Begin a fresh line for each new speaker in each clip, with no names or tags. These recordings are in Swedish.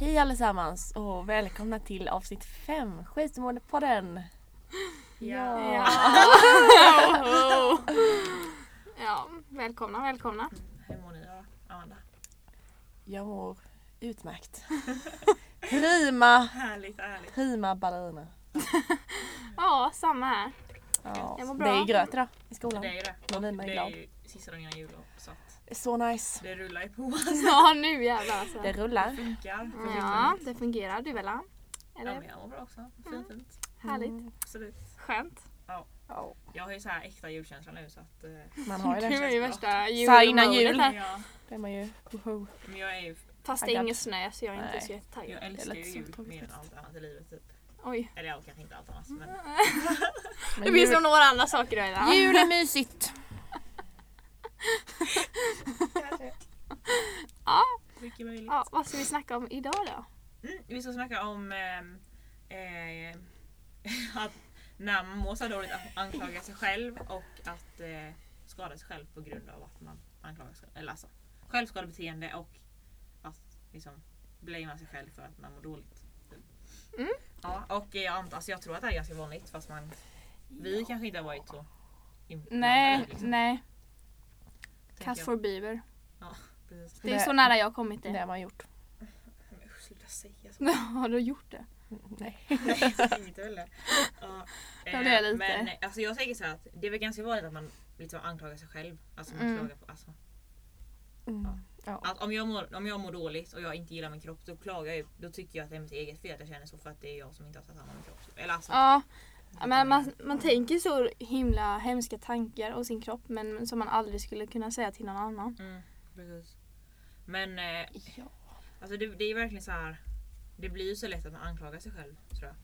Hej allesammans och välkomna till avsnitt 5, Skitmålpodden! Ja.
Ja. ja, välkomna, välkomna.
Mm.
Hur mår ni då, Amanda?
Jag mår utmärkt. prima,
Härligt, härligt.
prima ballerina.
Ja, samma här.
Ja,
Jag mår
det
bra.
är gröt idag i skolan.
Det är ju det.
Malina är
Det är
glad.
ju sista dagen innan jullov så att
Så nice.
det rullar ju på.
Ja, nu jävlar alltså.
Det rullar.
Funkar.
Ja, det fungerar. Du Bella? Eller?
Ja, men jag mår bra också. Fint, fint.
Mm.
Härligt.
Absolut.
Skönt.
Ja,
Jag har ju så här äkta julkänsla nu så att... eh,
Man har ju
Du är
det.
ju
bra.
värsta
Så här innan
julmodet
jul.
här.
Ja,
Det är man ju. Woho.
men jag är ju...
Fast det är
Taggad.
ingen snö så jag är inte
Nej.
så jättetaggad.
Jag älskar
lät
ju
som
jul
tråkigt
mer än
faktiskt.
allt annat i livet typ.
Oj.
Eller ja, kanske inte allt annat men...
Men
Det finns
jul-
nog några andra saker då Ella.
Jul är mysigt.
Ja.
Mycket möjligt.
ja, vad ska vi snacka om idag då?
Mm, vi ska snacka om ehm, eh, att när man mår så här dåligt att anklaga sig själv och att eh, skada sig själv på grund av att man anklagar sig själv. Eller alltså självskadebeteende och att liksom blamea sig själv för att man mår dåligt.
Mm.
Ja, och eh, jag, antar, alltså, jag tror att det här är ganska vanligt fast man, vi kanske inte har varit så inblandade,
Nej,
liksom,
nej.
tänker
Cast
jag.
for Bieber.
Precis.
Det är
Nej.
så nära jag har kommit
Det
det.
har man gjort.
Men usch, Sluta säga så.
Har du gjort det?
Nej.
Nej, jag tänkte väl det. Ja.
Ja, det är lite.
Men alltså, jag tänker så här att det är väl ganska vanligt att man liksom anklagar sig själv. Alltså, man
Mm.
klagar på, alltså,
Mm. Ja.
att om, jag mår, om jag mår dåligt och jag inte gillar min kropp då klagar jag Då tycker jag att det är mitt eget fel att jag känner så för att det är jag som inte har tagit hand om min kropp. Eller alltså,
Ja, men man, man tänker så himla hemska tankar om sin kropp men som man aldrig skulle kunna säga till någon annan.
mm, precis. Men eh,
Ja.
alltså, det, det är verkligen så här. Det blir ju så lätt att man anklagar sig själv tror jag.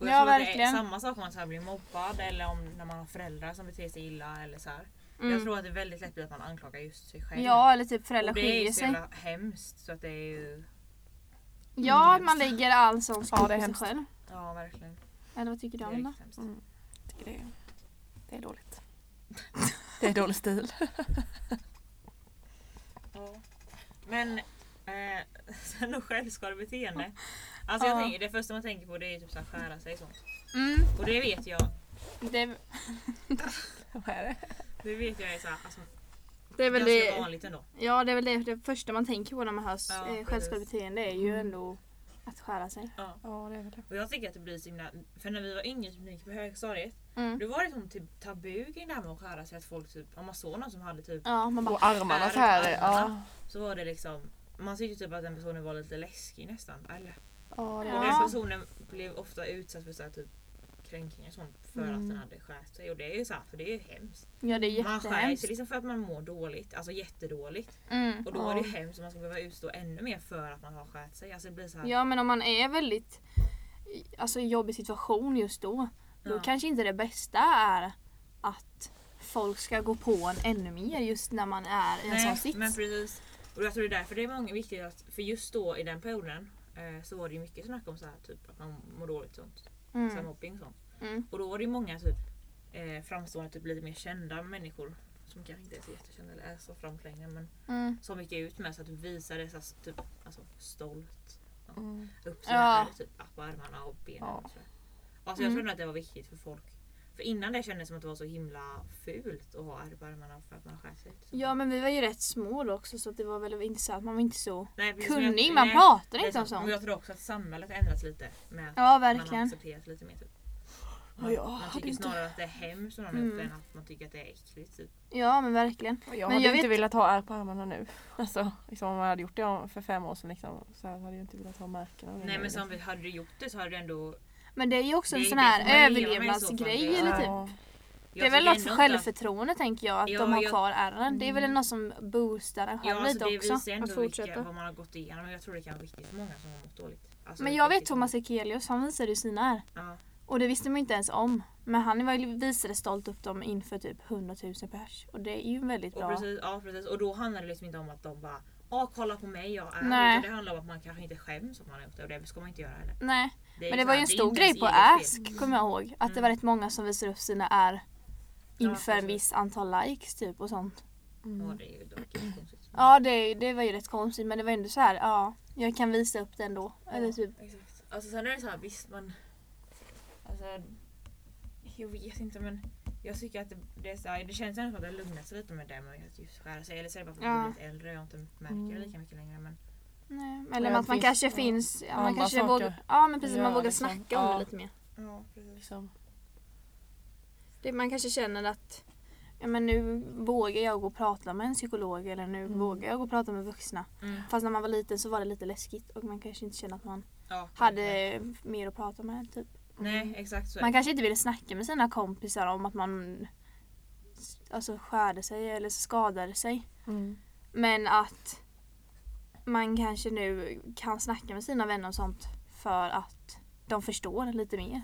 Och jag
Ja,
tror att det är
verkligen.
samma sak om man så här blir mobbad eller om när man har föräldrar som beter sig illa eller så här.
Mm.
Jag tror att det är väldigt lätt blir att man anklagar just sig själv.
Ja, eller typ föräldrar
Och det är
skiljer
ju så
sig.
jävla hemskt så att det är ju...
Ja, att man lägger all sån skuld
det är
på sig
hemskt.
själv.
Ja verkligen.
Eller vad tycker du
Det är
om det?
riktigt hemskt.
Mm. tycker det är, det är dåligt. Det är dålig stil.
Ja. Men eh, sen då självskadebeteende. Alltså jag
Ja.
tänker, det första man tänker på det är ju typ så här skära sig sånt.
Mm,
Och det vet jag,
det,
Vad är det?
det vet jag är så här, alltså,
det är väl
ganska
det,
vanligt ändå.
ja, det är väl det, det första man tänker på när man hör
Ja,
ja,
precis.
självskadebeteende är ju ändå att skära sig.
Ja.
Ja, det är väl det.
Och jag tycker att det blir så himla, för när vi var yngre som gick på högstadiet
Mm.
då var det sån typ tabu kring det här med att skära sig att folk typ, om man såg någon som hade typ
Ja, man bara
Och armarna så här. Ja,
så var det liksom man tyckte typ att den personen var lite läskig nästan. Eller
ja det
Och
är
den
Ja.
personen blev ofta utsatt för så här typ kränkningar och sånt för
Mm.
att den hade skärt sig. Och det är ju så här, för det är ju hemskt.
Ja, det är
Man skär
jättehemskt.
sig liksom för att man mår dåligt, alltså jättedåligt.
Mm.
Och då är det ju hemskt om man ska behöva utstå ännu mer för att man har skärt sig. Alltså det blir så här,
Ja men om man är väldigt i- alltså, i en jobbig situation just då. Då
Ja.
kanske inte det bästa är att folk ska gå på en ännu mer just när man är i en sån
Nej,
sits.
men precis. Och jag tror det är därför det är många viktigt att, för just då i den perioden eh, så var det ju mycket snack om så här, typ att man mår dåligt och sånt. Så här,
mm.
mobbing och sånt.
Mm.
Och då var det ju många typ eh, framstående, typ lite mer kända människor som kanske inte är så jättekända eller är så framträngande men
Mm.
som gick ut med så att visa det så här, typ, alltså, stolt. Ja.
Mm.
Upp sina
Ja. Mm.
ärr typ, ja, på armarna och benen.
Ja.
Och så. Alltså, jag tror nog att det var viktigt för folk. För innan det kändes som att det var så himla fult att ha ärr på armarna för att man skär sig. liksom.
Ja men vi var ju rätt små då också så att det var väldigt intressant. Man var inte så
Nej, precis, men jag-
kunnig, man
nej, det
pratade
är
inte om
sant. Men
sånt.
jag tror också att samhället har ändrats lite med att
Ja
man har
verkligen.
accepterat lite mer. Typ.
Ja, jag
man
hade
tycker
inte-
snarare att det är hemskt om någon har gjort det
Mm.
än att man tycker att det är äckligt. Typ.
Ja men verkligen.
Jag
Men
hade
jag
inte
vet-
velat ha ärr på armarna nu. Alltså, liksom, om man hade gjort det för fem år sedan liksom, så här hade jag inte velat ha märken.
Mm.
av det
Nej
nu,
men
liksom.
som, vi- hade du gjort det så hade du ändå...
Men det är ju också en
Det är
sån
det som man
här
lever med i så fall,
överlevnadsgrej
det är-
eller typ.
Ja.
Det är väl
tycker
något för
ändå inte att-
självförtroende tänker jag, att
Ja,
de har
jag- Mm.
kvar ärren. Det är väl något som boostar en
Ja,
själv
alltså
lite
det
också.
visar ändå
Att
vilka,
fortsätta.
vad man har gått igenom. och Jag tror det kan vara viktigt för många som har mått dåligt. Alltså,
Men jag vet
riktigt
Thomas
många.
Ekelius, han visade ju sina ärr.
Ja,
Och det visste man ju inte ens om. Men han var ju, visade stolt upp dem inför typ 100 000 pers. Och det är ju väldigt
och,
bra.
precis, ja, precis. och då handlar det liksom inte om att de bara Ja kolla på mig jag är.
Nej.
Utan det handlar om att man kanske inte skäms om man har gjort det och det ska man inte göra heller.
Nej,
är
men det
så
var ju
här,
en
det är
stor
inte
grej
ens
på
eget fel. Mm.
Ask kommer jag ihåg. Att det var rätt många som visade upp sina ärr inför en
precis.
viss antal likes typ och sånt.
Mm.
Ja, det är ju dock inte konstigt.
Ja, det, det var ju rätt konstigt men det var ändå så här, ja. Jag kan visa upp den då. Eller typ.
Exakt. Alltså sen är det så här, visst man... Alltså... Jag vet inte men jag tycker att det, det, är så här, det känns ändå som att det lugnat sig lite med det med att just skära sig. Eller så är det bara för att
Ja. Mm.
man blir lite äldre och jag inte märker det lika mycket längre. Men
Nej,
Ja,
eller att man
visst,
kanske
ja.
finns... Ja, man
Andra
kanske
saker.
vågar, ja men precis,
Ja,
man vågar
liksom.
snacka om
Ja.
det lite mer.
ja, precis.
Liksom.
Det, man kanske känner att ja, men nu vågar jag gå och prata med en psykolog eller nu
Mm.
vågar jag gå och prata med vuxna.
Mm.
Fast när man var liten så var det lite läskigt och man kanske inte kände att man
Ja,
hade mer att prata med. Typ.
Nej exakt så är
Man
det.
kanske inte ville snacka med sina kompisar om att man alltså, skärde sig eller skadade sig.
Mm.
Men att man kanske nu kan snacka med sina vänner och sånt för att de förstår lite mer.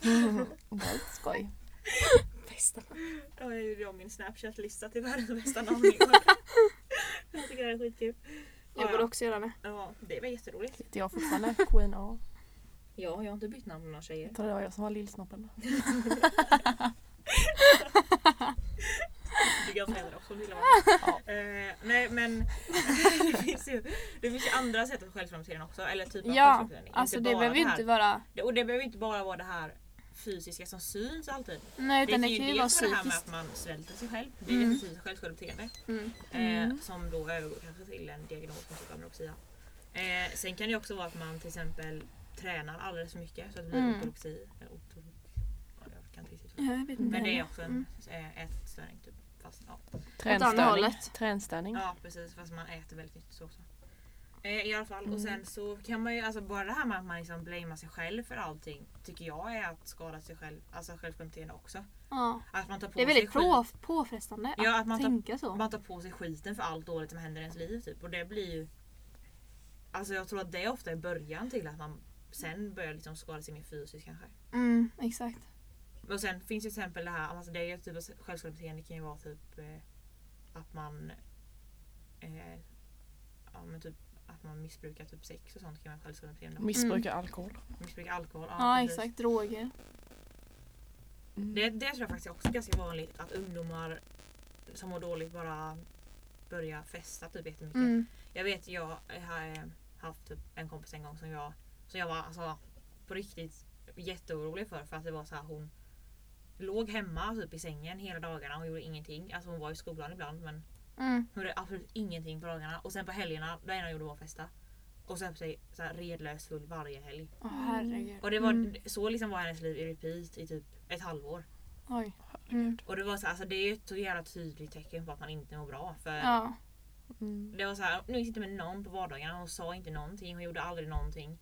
Det var lite Mm. skoj.
Jag gjorde om min snapchat-lista till världens bästa namn i år. jag tycker det här är skitkul.
Jag
Ja,
borde
ja.
också göra det.
Ja, det var jätteroligt.
Heter jag fortfarande Queen A?
Ja, jag har inte bytt namn med några tjejer.
Jag tror det var jag som var lillsnoppen.
tycker jag föräldrar också vill vara.
Ja.
Eh, nej men det finns ju det finns ju andra sätt att självframträda också. Eller typ av
Ja,
självframträdande. Inte
alltså det
bara
behöver ju
här-
inte vara...
det- Och det behöver ju inte bara vara det här fysiska som syns alltid.
Nej utan det
ju
kan ju
dels
vara
det här med
psykiskt.
att man svälter sig själv. Det är
Mm.
definitivt självskadebeteende.
Mm.
Eh,
Mm.
Som då övergår kanske till en diagnos som typ anorexia. Eh, sen kan det ju också vara att man till exempel tränar alldeles för mycket så att det blir
Mm.
ortorexi. Eller otor... eh, ja, jag kan inte riktigt.
Ja, jag vet inte
Men det är
heller.
också en
Mm.
mm. ätstörning typ. Fast, ja.
andra
Tränstörning.
hållet.
Tränstörning.
Ja precis, fast man äter väldigt mycket så också. Eh, I alla fall,
Mm.
och sen så kan man ju, alltså bara det här med att man liksom blamear sig själv för allting tycker jag är att skada sig själv, alltså självförtroende också.
Ja.
Att man tar på
Det är väldigt
sig
på, påfrestande
Ja,
att,
att man tar-
tänka så.
man tar på sig skiten för allt dåligt som händer i ens liv typ och det blir ju Alltså jag tror att det ofta är början till att man sen börjar liksom skada sig mer fysiskt kanske.
Mm, exakt.
Och sen finns ju till exempel det här, alltså det är ju typ av självskadebeteende kan ju vara typ eh, att man eh, ja, men typ att man missbrukar typ sex och sånt kan vara självskadebeteende.
Missbrukar
Mm.
alkohol.
Missbrukar alkohol.
Ja,
precis.
exakt. Droger.
Mm.
Det, det tror jag faktiskt är också ganska vanligt att ungdomar som mår dåligt bara börjar festa typ jättemycket.
Mm.
Jag vet, jag har eh, haft typ en kompis en gång som jag, som jag var alltså, på riktigt jätteorolig för. För att det var så här, hon låg hemma typ i sängen hela dagarna och gjorde ingenting. Alltså hon var i skolan ibland men
Mm.
hon gjorde absolut ingenting på dagarna. Och sen på helgerna, det enda hon gjorde var att festa. Och söp sig så här, redlös full varje helg.
Åh herregud.
Och det var,
Mm.
så liksom var hennes liv i repeat i typ ett halvår.
Oj. Mm.
Och det var så här, alltså, det är ju ett så jävla tydligt tecken på att man inte mår bra. För
Ja.
Mm.
Det var så här, nu gick inte med någon på vardagarna. Hon sa inte någonting. Hon gjorde aldrig någonting.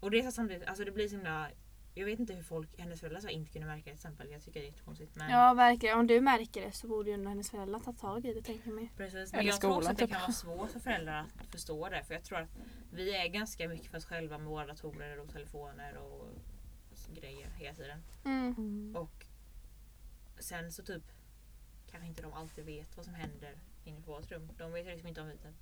Och det är så här samtidigt, alltså det blir så himla... Jag vet inte hur folk, hennes föräldrar så här, inte kunde märka det till exempel. Jag tycker det är jättekonstigt. Men,
ja, verkligen. Om du märker det så borde ju ändå hennes föräldrar ta tag i det tänker jag mig.
precis. men
Eller
jag tror också
skolan,
att det
typ.
kan vara svårt för föräldrar att förstå det. För jag tror att vi är ganska mycket för oss själva med våra datorer och telefoner och alltså grejer hela tiden.
Mm.
Mm.
Och sen så typ kanske inte de alltid vet vad som händer inne på vårt rum. De vet ju liksom inte om vi typ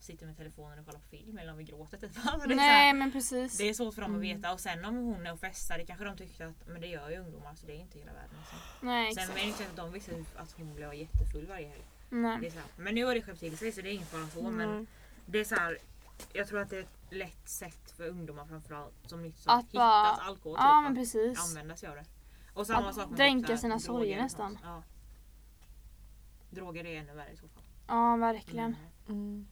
sitter med telefonen och kollar på film eller om vi gråter typ. Alltså det, är så
Nej
här,
men precis.
det är svårt för dem att
Mm.
veta och sen om hon är och festar det kanske de tyckte att men det gör ju ungdomar så det är inte hela världen. Liksom.
Nej
Sen
exakt.
menar jag inte att de visste ju att hon blev jättefull varje helg. Det är
Nej.
så här, men nu har det skärpt till sig så det är ingen fara så men
Mm.
det är så här, jag tror att det är ett lätt sätt för ungdomar framförallt som nytt som
Att
hittat
bara-
alkohol
Ja
typ,
men
att-
precis.
använda sig av det. Och samma
Att
sak med
dränka
typ så här
sina sorger
droger och
nästan.
sånt. Ja. Droger är ännu värre i så fall.
Ja verkligen.
Mm.
Mm.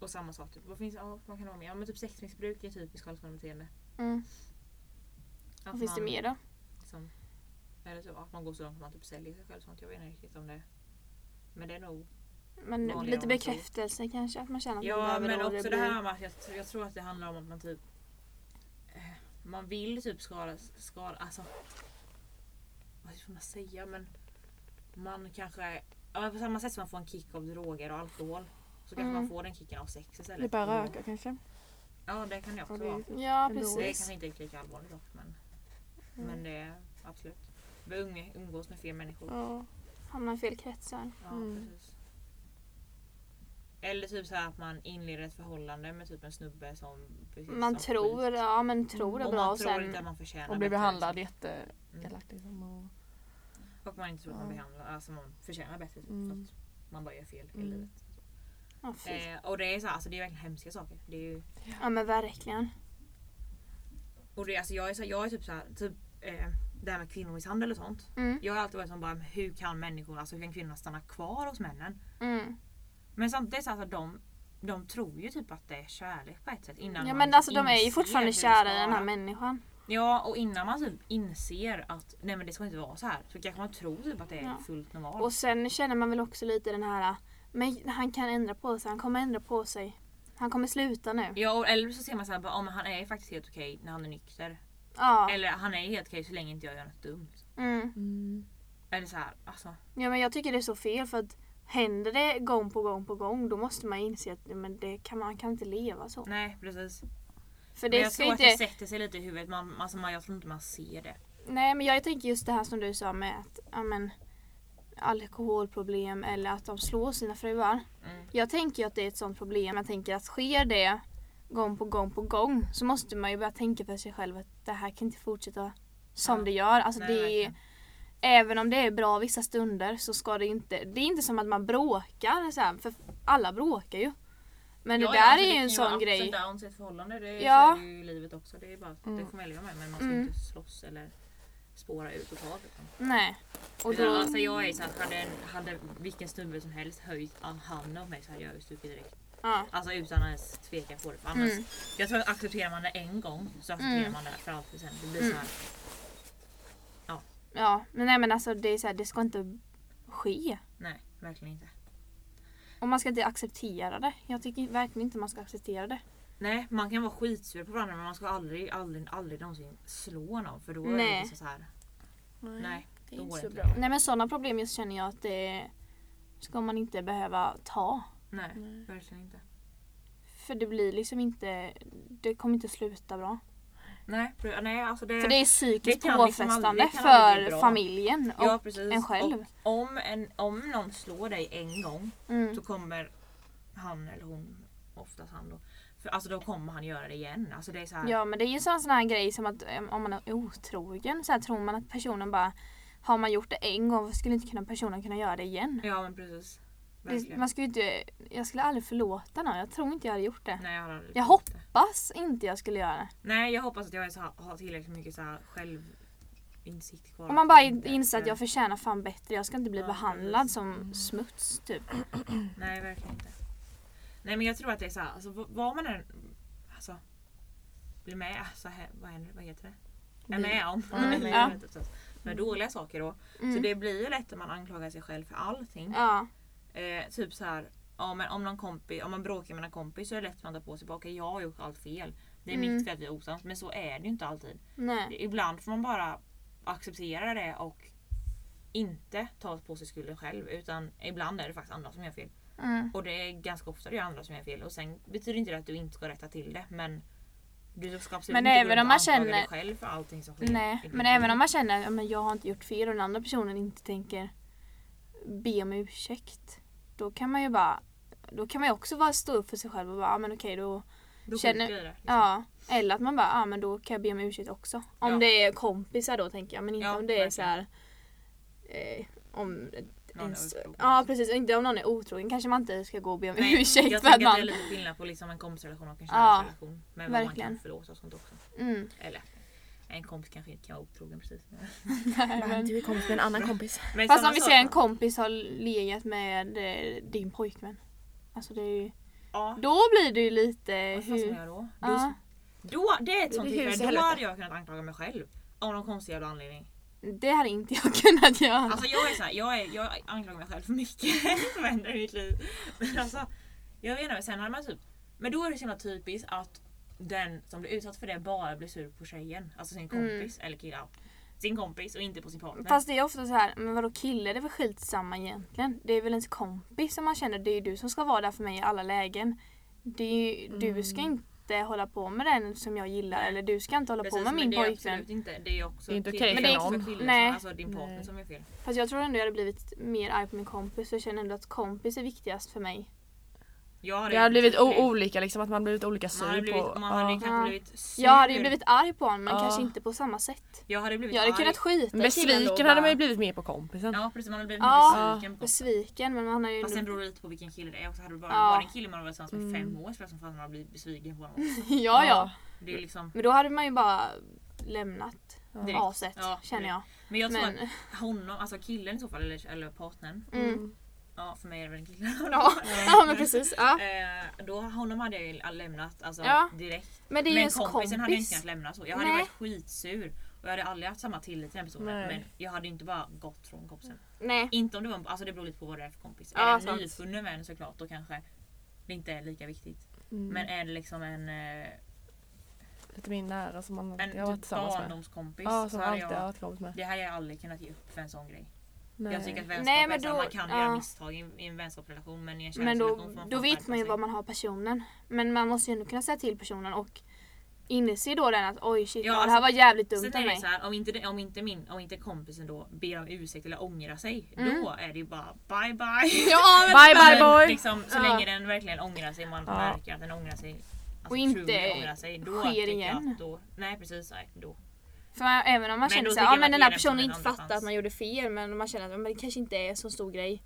Och samma sak, typ, vad finns ja, man kan ha mer? Ja, men typ sexmissbruk är typiskt självskadebeteende.
Mm.
Att
Vad finns det
man
mer då?
Liksom, eller typ, att man går så långt att man typ säljer sig själv och sånt. Jag vet inte riktigt om det. Men det är nog...
Men
Vanliga
lite
man tror.
bekräftelse kanske att man känner att man
Ja
behöver
men
och
också det
blir-
här med att jag, tr- jag tror att det handlar om att man typ... eh, Man vill typ skada... skada alltså, vad ska man säga? Men man kanske... Ja, på samma sätt som man får en kick av droger och alkohol. Så kanske
Mm.
man får den kicken av sex istället.
Det börjar
Mm.
öka kanske.
Ja det kan det också
Ja, det-
vara.
Ja
Ändå.
Det är
precis.
kanske inte riktigt lika allvarligt dock men... Men det är absolut. Vi unge- umgås med fel människor.
Ja.
Hamnar i fel kretsar.
Ja,
Mm.
precis. Eller typ så här att man inleder ett förhållande med typ en snubbe som precis
Man
har
tror,
skit.
ja men tror det
Mm, och
bra
man
och
tror inte att
sen...
man förtjänar
Och blir
bättre,
behandlad
liksom. Mm.
jätteelakt liksom. Och...
liksom. Och man inte tror att man,
Ja.
behandlar, alltså man förtjänar bättre. typ,
Mm.
För att man bara gör fel i
Mm.
livet.
Ja, fy.
Eh, och det är så här, alltså det är verkligen hemska saker. Det är ju,
ja men verkligen.
och det, alltså jag är, så, jag är typ så här, typ eh, det här med kvinnomisshandel och sånt.
Mm.
Jag har alltid varit som bara, men hur kan människor, alltså hur kan kvinnorna stanna kvar hos männen?
Mm.
Men samtidigt så alltså, de, de tror ju typ att det är kärlek på ett sätt. Innan
Ja
man
men alltså de är ju
inser hur
fortfarande
det ska
kära i den här
vara.
människan.
Ja och innan man typ inser att nej men det ska inte vara så här så kanske man tror typ att det är
Ja.
fullt normalt.
Och sen känner man väl också lite den här, men han kan ändra på sig, han kommer ändra på sig. Han kommer sluta nu.
Ja och, eller så ser man så här, bara, ja, men han är faktiskt helt okej när han är nykter.
Ja.
Eller han är helt okej så länge inte jag gör något dumt.
Mm.
Mm.
Eller så här, alltså.
ja men jag tycker det är så fel för att händer det gång på gång på gång då måste man inse att men det kan, man kan inte leva så.
Nej precis.
För
men
det
jag
ska
tror
inte...
att det sätter sig lite i huvudet. Man, alltså, man, jag tror inte man ser det.
Nej men jag tänker just det här som du sa med att ja, men, alkoholproblem eller att de slår sina fruar.
Mm.
Jag tänker ju att det är ett sånt problem. Jag tänker att sker det gång på gång på gång så måste man ju börja tänka för sig själv att det här kan inte fortsätta som
Ja.
det gör. Alltså
Nej,
det är,
verkligen.
även om det är bra vissa stunder så ska det inte... Det är inte som att man bråkar så här, för alla bråkar ju. Men det
Ja,
där
ja, alltså,
är ju
kan
en sån
vara
grej.
Ups and downs i ett förhållande. Det är,
Ja.
så är det ju i livet också. Det, är bara, det
Mm.
får man leva med. Men man ska
Mm.
inte slåss eller spåra ut totalt. Liksom.
Nej. Och
Utan,
då,
alltså, jag är så att hade, en- hade vilken snubbe som helst höjt handen åt mig så hade jag ju stuckit direkt.
ja.
Alltså utan att ens tveka på det. För Annars,
Mm.
Jag tror att accepterar man det en gång så accepterar
Mm.
man det för alltid sen. Det blir
Mm.
så här,
Ja, men nej men alltså det är så här, det ska inte ske.
nej verkligen inte.
Och man ska inte acceptera det. Jag tycker verkligen inte man ska acceptera det.
Nej, man kan vara skitsur på varandra men man ska aldrig, aldrig, aldrig någonsin slå någon för då är det
Nej.
liksom så här.
Mm.
Nej,
det är
då
inte
går det
så
inte.
bra.
Nej men sådana problem just känner jag att det ska man inte behöva ta.
Nej,
Nej.
verkligen inte.
För det blir liksom inte, det kommer inte sluta bra.
Nej, för- nej alltså det...
För det är psykiskt
Mm. Det kan liksom
påfrestande
aldrig- det kan aldrig
för
bli bra.
familjen och
ja, precis.
en själv.
Och om, en, om någon slår dig en gång
Mm.
så kommer han eller hon, oftast han då, för, alltså då kommer han göra det igen. Alltså det är så här,
Ja men det är ju en sån sån här grej som att eh, om man är otrogen så här tror man att personen bara har man gjort det en gång varför skulle inte kunna personen kunna göra det igen?
ja men precis.
Det,
Verkligen.
man skulle ju inte, jag skulle aldrig förlåta någon. Jag tror inte jag hade gjort det.
Nej, jag, har aldrig
Jag
gjort det.
Hoppas inte jag skulle göra det.
Nej jag hoppas att jag är så här, har tillräckligt mycket så här självinsikt kvar.
Om man bara
att inte-
inser att jag förtjänar fan bättre. Jag ska inte bli
Ja,
behandlad
precis.
som smuts typ.
Nej verkligen inte. Nej men jag tror att det är så här, alltså, v- vad man än alltså, blir med så här, vad, händer, vad heter det? Är
Blir-
med om.
Mm,
är med
ja.
om, rättare sagt. Med dåliga saker då. Så
Mm.
det blir ju lätt att man anklagar sig själv för allting.
Ja.
Eh, typ så här, ja, men om, någon kompis, om man bråkar med en kompis så är det lätt att man tar på sig bara, okej jag har gjort allt fel. Det är
Mm.
mitt fel att vi är osams. Men så är det ju inte alltid.
Nej.
Ibland får man bara acceptera det och inte ta på sig skulden själv utan ibland är det faktiskt andra som gör fel.
Mm.
Och det är ganska ofta det är andra som gör fel och sen betyder inte det att du inte ska rätta till det men du ska absolut
Men
inte
även
gå runt
om
och
man
anklaga
känner-
dig själv för allting som sker. i
Nej.
ditt
Men
liv.
även om man känner att jag har inte gjort fel och den andra personen inte tänker be om ursäkt. Då kan man ju bara då kan man ju också bara stå upp för sig själv och bara ah, men okej då.
Då
känner-
skiter jag i det. Liksom.
Ja. Eller att man bara ah, men då kan jag be om ursäkt också. Om
Ja.
det är kompisar då tänker jag men inte
Ja,
om det är
verkligen.
så här. Eh, om
Någon är
ens,
otrogen.
ja precis, och inte om någon är otrogen kanske man inte ska gå och be om
Nej,
ursäkt
Jag
för att
tänker att
man...
det är lite skillnad på liksom en kompisrelation och en
Ja,
kärleksrelation. men vad man
verkligen.
kan förlåta och sånt också.
Mm.
Eller en kompis kanske inte kan vara otrogen precis. Men,
Men du är kompis med en annan kompis.
men
Fast
såna
om vi
saker-
ser en kompis har legat med eh, din pojkvän. Alltså det är ju...
Ja,
Då blir det ju lite
vad fan ska
hur...
man göra då? Då
Ja,
Då, det är ett sånt
blir hus i
tillfälle, då
helvete.
hade jag kunnat anklaga mig själv. Av någon konstig jävla anledning.
det hade inte jag kunnat göra.
Alltså jag är såhär, jag, är, jag anklagar mig själv för mycket som händer i mitt liv. Men alltså, jag vet inte, sen hade man typ... Men då är det så himla typiskt att den som blir utsatt för det bara blir sur på tjejen. Alltså sin kompis, eller killen. ja. Sin kompis och inte på sin partner.
Mm. Fast det är ofta så här, men vadå kille det är väl skitsamma egentligen. Det är väl ens kompis som man känner, det är ju du som ska vara där för mig i alla lägen. Det är ju,
Mm.
Du ska inte hålla på med den som jag gillar eller du ska inte hålla på med
men
min
det är
pojkvän.
absolut inte, det är också
Det är inte
till-
okej
för
också
någon.
killen
Nej.
Som, alltså din partner
Nej.
som gör fel.
Fast jag tror ändå jag hade blivit mer arg på min kompis för jag känner ändå att kompis är viktigast för mig.
Jag hade
Det hade blivit o-
blivit-
olika liksom, att man blivit olika
man hade
syn
blivit,
på...
man hade ju
ja.
Ja.
kanske blivit sur.
Jag hade ju blivit arg på honom men
Ja.
kanske inte på samma sätt.
jag hade blivit
Jag hade
arg.
kunnat skita i killen då och
Besviken hade
bara-
man ju blivit mer på kompisen.
Ja precis, man hade blivit
Ja.
besviken på
Besviken men man har ju...
Fast sen beror det lite på vilken kille det är också. Hade det bara
Ja. Mm.
varit en kille man var tillsammans med fem år så tror jag som fan man hade blivit besviken på honom.
ja ja.
Det är liksom,
Men då hade man ju bara lämnat
Direkt.
aset
Ja,
känner jag.
men jag tror
Men,
att honom, alltså killen i så fall eller, eller partnern.
mm.
Ja för mig är det väl en kille.
ja. ja
Mm.
men precis. Ja.
Eh, då, honom hade jag ju lämnat alltså,
Ja.
direkt.
Men det är ju
Men
ens
kompisen hade jag inte
kompis.
kunnat lämna så. Jag hade
Nej.
varit skitsur. Och jag hade aldrig haft samma tillit till den personen.
Nej.
Men jag hade ju inte bara gått från kompisen.
Nej.
Inte om det var en, alltså det beror lite på vad det är för kompis.
Ja,
är det en
sant.
nyfunnen vän såklart då kanske det inte är lika viktigt.
Mm.
Men är det liksom en, eh,
Lite mer nära som man alltid har
en
varit
typ
tillsammans med.
barndomskompis
Ja,
så
som
hade
alltid har
jag,
varit kompis med.
det hade jag aldrig kunnat ge upp för en sån grej.
Nej.
Jag tycker att vänskap
Nej,
är
men
så här,
då-
man kan
ja.
göra misstag i, en- i en vänskapsrelation men i en
Men
kärleksrelation
då,
får man
då
fan
vet
skärpa
man ju
sig.
vad man har personen. Men man måste ju ändå kunna säga till personen och inse då den att oj shit
Ja,
ja, det här var jävligt dumt
Sen
av
är det
mig.
så här, om, inte, det- om, inte min, om inte kompisen då ber om ursäkt eller ångrar sig
Mm.
då är det ju bara bye bye.
Ja, men,
Bye bye
Men
boy!
Liksom, så
Ja.
länge den verkligen ångrar sig, man
Ja.
märker att den ångrar sig. Alltså,
Och inte
truly ångrar sig, då
sker
tycker jag
igen.
att Då, nej precis, nej, då.
för man, även om man
Men
känner
då
så här,
tycker
ja,
jag
men
att
den här
det är
personen
den
inte
andra
fattar att
chans.
man gjorde fel men man känner att men det kanske inte är så stor grej.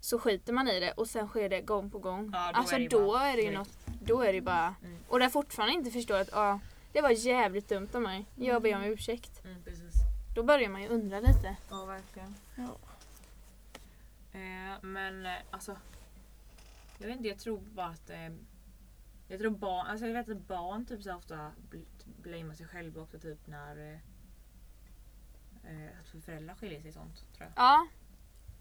Så skiter man i det och sen sker det gång på gång.
Ja, då
alltså
är det ju
då
bara-
är det ju
då är-
något, då är det ju bara.
Mm.
Och jag fortfarande inte förstår att ja, det var jävligt dumt av mig. Jag ber om ursäkt.
Mm, precis.
Då börjar man ju undra lite.
Ja, verkligen.
Ja.
Eh, men eh, alltså. Jag vet inte, jag tror bara att. Eh, jag tror barn, alltså jag vet att barn typ så här ofta bl- blamear sig själva också typ när eh, eh, att föräldrar skiljer sig och sånt tror jag.
Ja,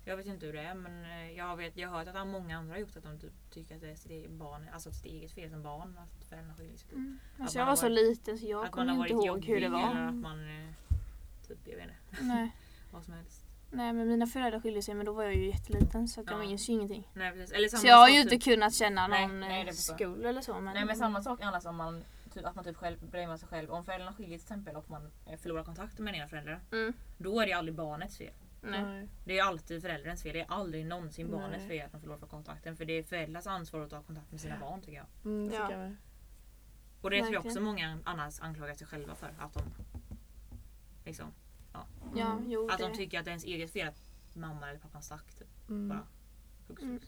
Jag vet inte hur det är men eh, jag, vet, jag har hört att många andra har gjort att de typ tycker att det är sitt eget, barn, alltså sitt eget fel som barn att föräldrarna skiljer sig. Typ.
alltså
man
jag
har
var så
varit-
liten så jag
att man
kommer
har
inte
varit
ihåg hur det
jobbig
var.
Eller att man eh, typ, jag vet inte,
Nej.
vad som helst.
Nej men mina föräldrar skilde sig men då var jag ju jätteliten så att jag
Ja.
minns ju ingenting.
Nej, precis. Eller samma
Så jag har
sak,
ju
typ-
inte kunnat känna
Nej,
någon
nej,
eh,
det förstår jag.
skuld eller så. Men,
Nej men samma sak annars om man, typ, att man typ själv blamear sig själv. Om föräldrarna skiljer till exempel och man eh, förlorar kontakten med den ena föräldern.
Mm,
Då är det aldrig barnets fel.
nej.
Det är alltid förälderns fel. Det är aldrig någonsin barnets
Nej.
fel att man förlorar kontakten. För det är föräldrars ansvar att ta kontakt med sina barn tycker jag.
Mm, det
Ja.
tycker jag med.
Och det tror jag
Verkligen.
också många annars anklagar sig själva för. Att de, liksom,
Ja,
Mm.
jo
att de
det.
tycker att det är ens eget fel att mamma eller pappan stack. Typ.
Mm.
Bara. hux flux.
Mm.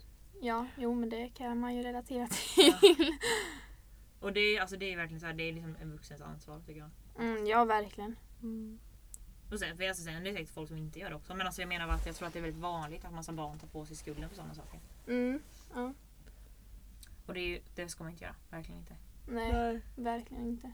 Ja, jo men det kan man ju relatera till.
Och det är, alltså, det är verkligen så här, det är liksom en vuxens ansvar tycker jag.
Mm, ja verkligen.
Mm.
Och sen, för alltså, sen är det säkert folk som inte gör det också. Men alltså, jag menar bara att jag tror att det är väldigt vanligt att man som barn tar på sig skulden för sådana saker.
Mm, ja.
Och det, är ju, det ska man inte göra. Verkligen inte.
Nej,
Nej.
verkligen inte.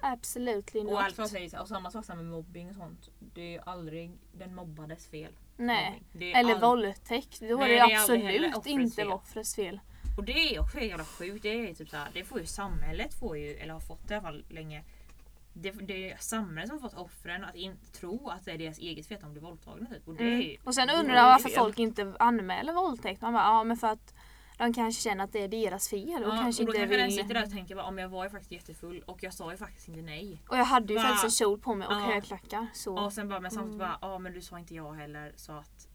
Absolutely
Och,
not.
alltså, säger så här, och samma sak så här med mobbing och sånt. Det är ju aldrig den mobbades fel.
Nej.
Mobbing. Det är
Eller
all-
våldtäkt, då
Nej,
är det
det är aldrig heller
absolut
offrets
inte
fel.
offrets fel.
Och det är också helt jävla sjukt. Det är typ så här, det får ju samhället, får ju, eller har fått i alla fall länge. Det, det är samhället som har fått offren att in, tro att det är deras eget fel att de blir våldtagna. Typ. Och det är ju,
Mm. Och sen
det
undrar
är
jag varför
fel.
folk inte anmäler våldtäkt. Man bara, ja men för att de kanske känner att det är deras fel och
Ja,
kanske
och då
inte
kanske den
vill...
sitter där och tänker bara, om jag var ju faktiskt jättefull och jag sa ju faktiskt inte nej.
Och jag hade ju
Va?
faktiskt en kjol på mig och
Ja.
högklackar. Så.
Och sen bara, men samtidigt
Mm.
bara, ja men du sa inte jag heller så att...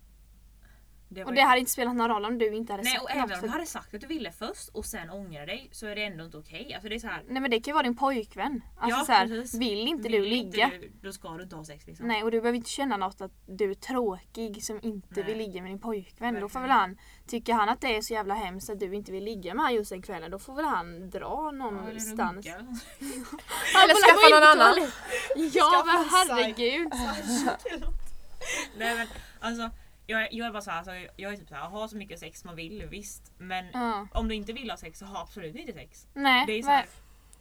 Det var
och
ju-
det hade inte spelat någon roll om du inte hade
Nej
sagt
och
något.
även om
för-
du hade sagt att du ville först och sen ångrar dig så är det ändå inte okej. Alltså det är så här,
Nej men det kan ju vara din pojkvän. Alltså
Ja,
så här,
precis.
vill inte du
vill
ligga?
du, liksom. då ska du inte ha sex liksom.
Nej och du behöver inte känna något att du är tråkig som inte
Nej.
vill ligga med din pojkvän. Då får
Verkligen.
väl han, tycker han att det är så jävla hemskt att du inte vill ligga med han just den kvällen då får väl han dra
Ja, eller
någonstans.
runka eller något.
Eller
kolla, gå in
skaffa någon
på
annan.
toaletten. Ja men
Skaffa en psyk.
herregud.
Nej men alltså jag, jag är bara såhär, alltså, jag är typ såhär, ha så mycket sex man vill visst men
Ja.
om du inte vill ha sex så ha absolut inte sex.
Nej,
Det är så
var,
här,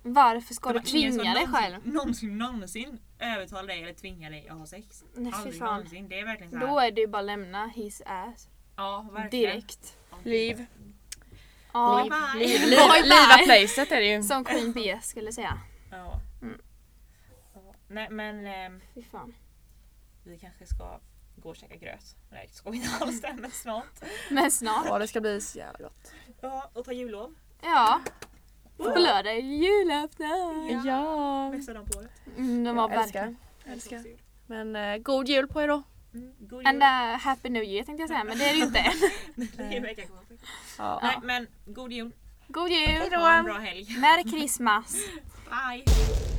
varför ska du
det var ingen som
tvinga dig
någonsin-
själv?
Någonsin någonsin övertala dig eller tvinga dig att ha sex.
Nej, fy
Aldrig
fan.
någonsin. Det är verkligen såhär.
Då är det ju bara lämna his ass.
ja, verkligen.
Direkt.
Liv.
Ja.
Bye bye.
Liv, liv,
Bye, bye.
liva placet är det ju.
Som Queen B skulle säga.
Ja.
Mm.
Ja, Nej men ehm,
Fy fan.
vi kanske ska gå och käka gröt. Nej det ska vi inte alls det men snart.
Men snart.
Ja det ska bli så jävla gott.
Ja och ta jullov.
Ja. På lördag är det julafton.
Ja.
Bästa dagen på året.
Mm, de var
Jag älskar.
verkligen.
Älskar. Men eh, god jul på er då.
Mm, god
And
jul!
uh, happy new year tänkte jag säga, men det är det ju inte.
Det är verkligen konstigt.
Ja.
Nej men god jul!
God jul!
Ha en bra helg!
Merry Christmas!
Bye!